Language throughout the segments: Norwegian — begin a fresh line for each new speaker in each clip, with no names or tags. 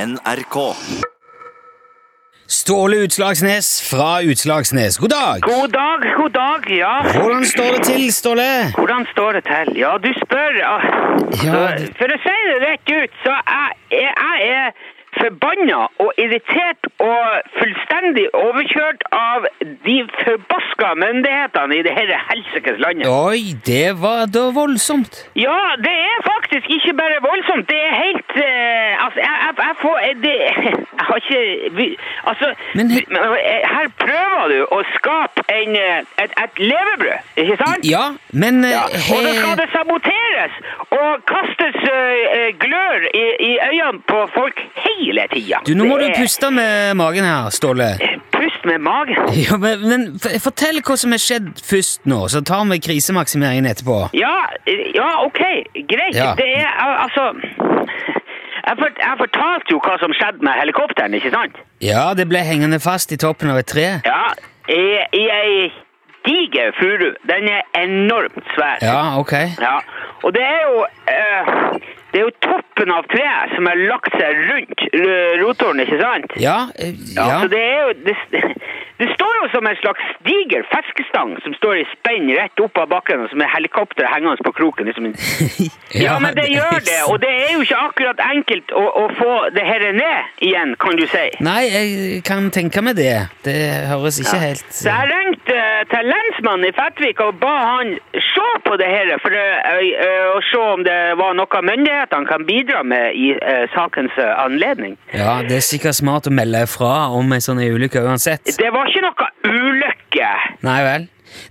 NRK.
Ståle Utslagsnes fra Utslagsnes. God dag!
God dag, god dag, ja.
Hvordan står det til, Ståle?
Hvordan står det til? Ja, du spør. ah.
Ja,
Så,
det-
For å si det rett ut, så er jeg, jeg er forbanna og irritert og fullstendig overkjørt av de forbaska myndighetene i det dette helsikes landet.
Oi, det var da voldsomt.
Ja, det er faktisk ikke bare voldsomt. Det er helt eh, Altså, jeg, jeg, jeg får jeg, det, jeg har ikke vi- Altså
Men he-
vi- men, eh, her prøver du å skape en, eh, et, et levebrød, ikke sant?
Ja, men
Ja,
eh,
og da skal
he-
det saboteres og kastes eh, eh, glør i, i øynene på folk hele tida.
Du, Nå må du
Det er-
puste med magen her, Ståle.
Pust med magen.
Ja, men, men f- fortell hva som har skjedd først nå, så tar vi krisemaksimeringen etterpå.
Ja, eh, ja ok, greit.
Ja.
Det er al- altså jeg, fort, jeg fortalte jo hva som skjedde med helikopteren, ikke sant?
Ja, det ble hengende fast i toppen av et tre.
Ja, i, i ei diger furu. Den er enormt svær.
Ja, ok.
Ja, og det er jo eh, det er jo toppen av treet som har lagt seg rundt eh, rotoren, ikke sant?
Ja, eh,
Ja.
ja.
Så det er jo det, det står jo som en slags diger fiskestang som står i spenn rett opp av bakken, og som er helikopter hengende på kroken. Liksom. en- Ja, men det gjør det, og det er jo ikke akkurat enkelt å, å få det her ned igjen, kan du si.
Nei, jeg kan tenke meg det. Det høres ikke helt
Så jeg ringte eh, til lensmannen i Fettvik og ba han se på det her, for eh, eh, å se om det var noe myndighetene kan bidra med i eh, sakens eh, anledning.
Ja, det er sikkert smart å melde fra om en sånn ulykke uansett.
Det var ikke noe ulykke.
Nei vel.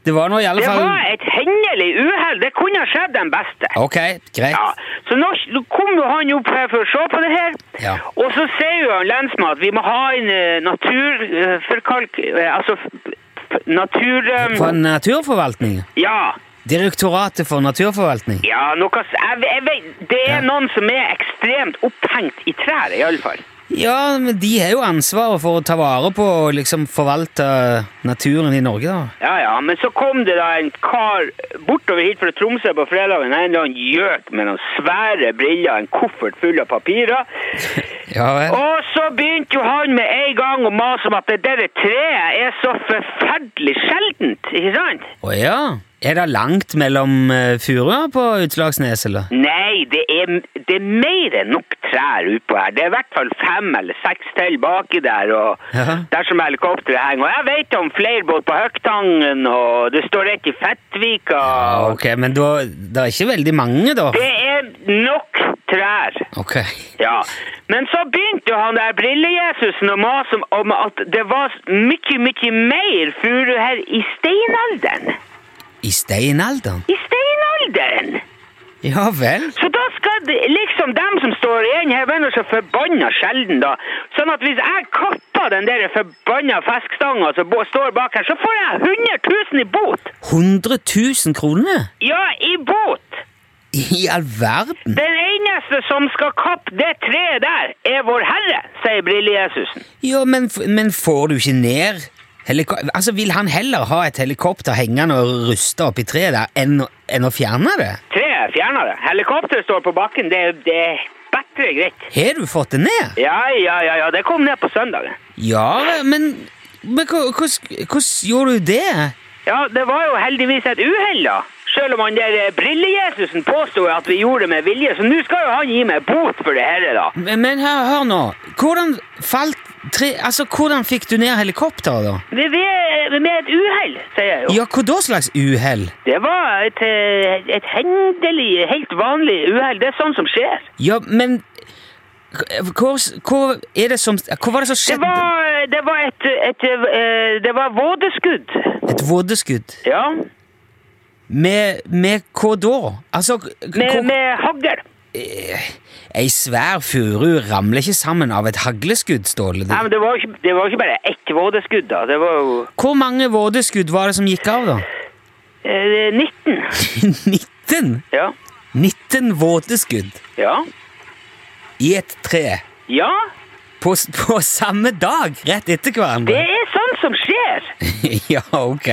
Det var nå i alle
Det
fall
var et hendelig uhell. Det kunne ha skjedd den beste.
Ok, greit.
Ja, så nå nå kom jo han opp her for å se på det her,
Ja.
og så sier jo han lensmann at vi må ha en eh, naturforkalk... eh, altså f- f- natur... eh,
For naturforvaltning.
ja,
Direktoratet for naturforvaltning.
ja, noe... s- Jeg, ve- jeg vet, det er
Ja.
noen som er ekstremt opphengt i trær, i alle fall.
Ja, men de har jo ansvaret for å ta vare på og liksom forvalte naturen i Norge, da.
Ja, ja, men så kom det da en kar bortover hit fra Tromsø på fredagen, en eller annen gjøk med noen svære briller, en koffert full av papirer,
Ja vel.
Og så begynte jo han med en gang å mase om at det der treet er så forferdelig sjeldent, ikke sant?
Å ja. Er det langt mellom eh, furuer på Utslagsnes, eller?
Nei, det er, det er mer enn nok trær utpå her. Det er i hvert fall fem eller seks til baki der, og
Ja.
der som helikopteret henger. Og jeg vet om flere både på Høgtangen, og det står rett i Fettvika.
Ja, ok, men da, det er ikke veldig mange, da.
Det er nok trær.
Ok.
Ja, men så begynte jo han der brillejesusen å mase om- om at det var mye, mye mer furu her i steinalderen.
I steinalderen?
I steinalderen!
Ja vel.
Så da skal de, liksom dem som står igjen her, være så forbanna sjelden, da. Sånn at hvis jeg kapper den der forbanna fiskestanga som bo- står bak her, så får jeg 100 000 i bot!
100 000 kroner?
Ja, i bot!
I all verden?
Den eneste som skal kappe det treet der, er Vår Herre, sier brillejesusen.
Ja, men, f- men får du ikke ned heliko Altså, Vil han heller ha et helikopter hengende og ruste oppi treet der, enn, å- enn å fjerne det?
Treet fjerner det. Helikopteret står på bakken. Det, det er bedre greit.
Har du fått det ned?
Ja, ja, ja, ja. Det kom ned på søndagen.
Ja, men men hva- hvordan hvordan gjorde du det?
Ja, det var jo heldigvis et uhell, da. Selv om han der eh, brillejesusen påstod at vi gjorde det med vilje, så nå skal jo han gi meg bot for det her, da.
Men, men hør, hør nå. Hvordan falt tre... Altså, hvordan fikk du ned helikopteret, da?
Vi, vi, er- med et uhell, sier jeg jo.
Ja, hva da slags uhell?
Det var et, eh, et hendelig, helt vanlig uhell. Det er sånn som skjer.
Ja, men hva, hva er det som Hva var det som
Det
skjedde?
var, eh, det var et, et, eh, det var vådeskudd.
Et vådeskudd.
Ja,
Med, med hva da? Altså k-
med,
hvor-
med hagl.
Ei svær furu ramler ikke sammen av et hagleskudd, Ståle.
Nei, men det var jo ikke, det var jo ikke bare ett vådeskudd, da. Det var jo
Hvor mange vådeskudd var det som gikk av, da?
eh, 19.
19!
Ja.
19 vådeskudd
Ja.
i et tre.
Ja,
På, s- på samme dag, rett etter
det
hverandre.
er sånn som skjer.
ja, ok.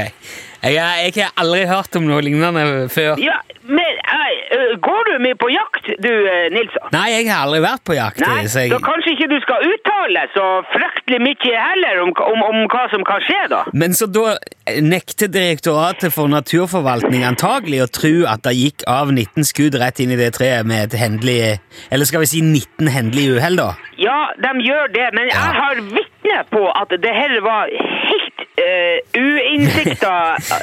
Jeg, har- jeg har aldri hørt om noe lignende før.
Ja, men eh, eh, går du mye på jakt, du, eh, Nilsson?
Nei, jeg har aldri vært på jakt.
Nei,
så
så
jeg...
kanskje ikke du skal uttale så fryktelig mye heller om, om, om hva som kan skje, da?
Men så da nekter Direktoratet for naturforvaltning antagelig å tro at det gikk av 19 skudd rett inn i det treet med et hendelig Eller skal vi si 19 hendelige uhell, da?
Ja, de gjør det, men jeg har vitne på at det her var helt uh, uinnsikta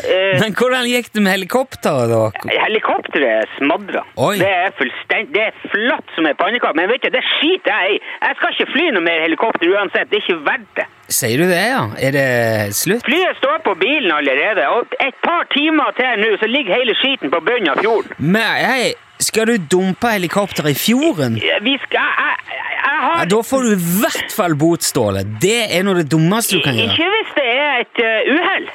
eh,
Men hvordan gikk det med helikopteret, da?
Helikopteret smadra.
Oi.
Det er fullstendig Det er flatt som en pannekake. Men vet du, det skiter jeg i. Jeg skal ikke fly noe mer helikopter uansett. Det er ikke verdt det.
Sier du det, ja? Er det slutt?
Flyet står på bilen allerede, og et par timer til nå så ligger hele skiten på bunnen av fjorden.
Men hei, skal du dumpe helikopteret i fjorden?
Vi skal Jeg, jeg, jeg har
Ja, da får du i hvert fall bot, Ståle. Det er noe av det dummeste du kan gjøre.
Ikke hvis det er et eh, uhell.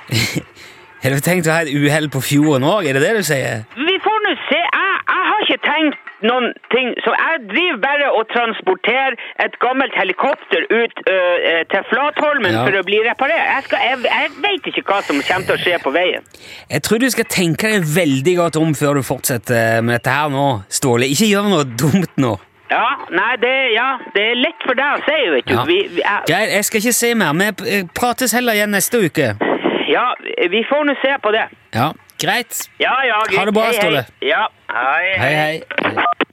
Har du tenkt å ha et uhell på fjorden òg? Er det det du sier?
Vi får nå se. Jeg, jeg har ikke tenkt noen ting. Så jeg driver bare og transporterer et gammelt helikopter ut eh, eh, til Flatholmen
Ja.
for å bli reparert. Jeg, skal, jeg, jeg vet ikke hva som kommer til å skje på veien.
Jeg tror du skal tenke deg veldig godt om før du fortsetter med dette her nå, Ståle. Ikke gjør noe dumt nå.
Ja, nei, det, ja, det er lett for deg å si, vet du.
Ja.
Vi, vi, jeg,
Greit, jeg skal ikke si mer. Vi p- prates heller igjen neste uke.
ja, vi får nå se på det.
Ja, greit.
Ja, ja, greit.
Ha det bra,
Hei, hei.
Ståle.
Ja, hei,
Hei, hei.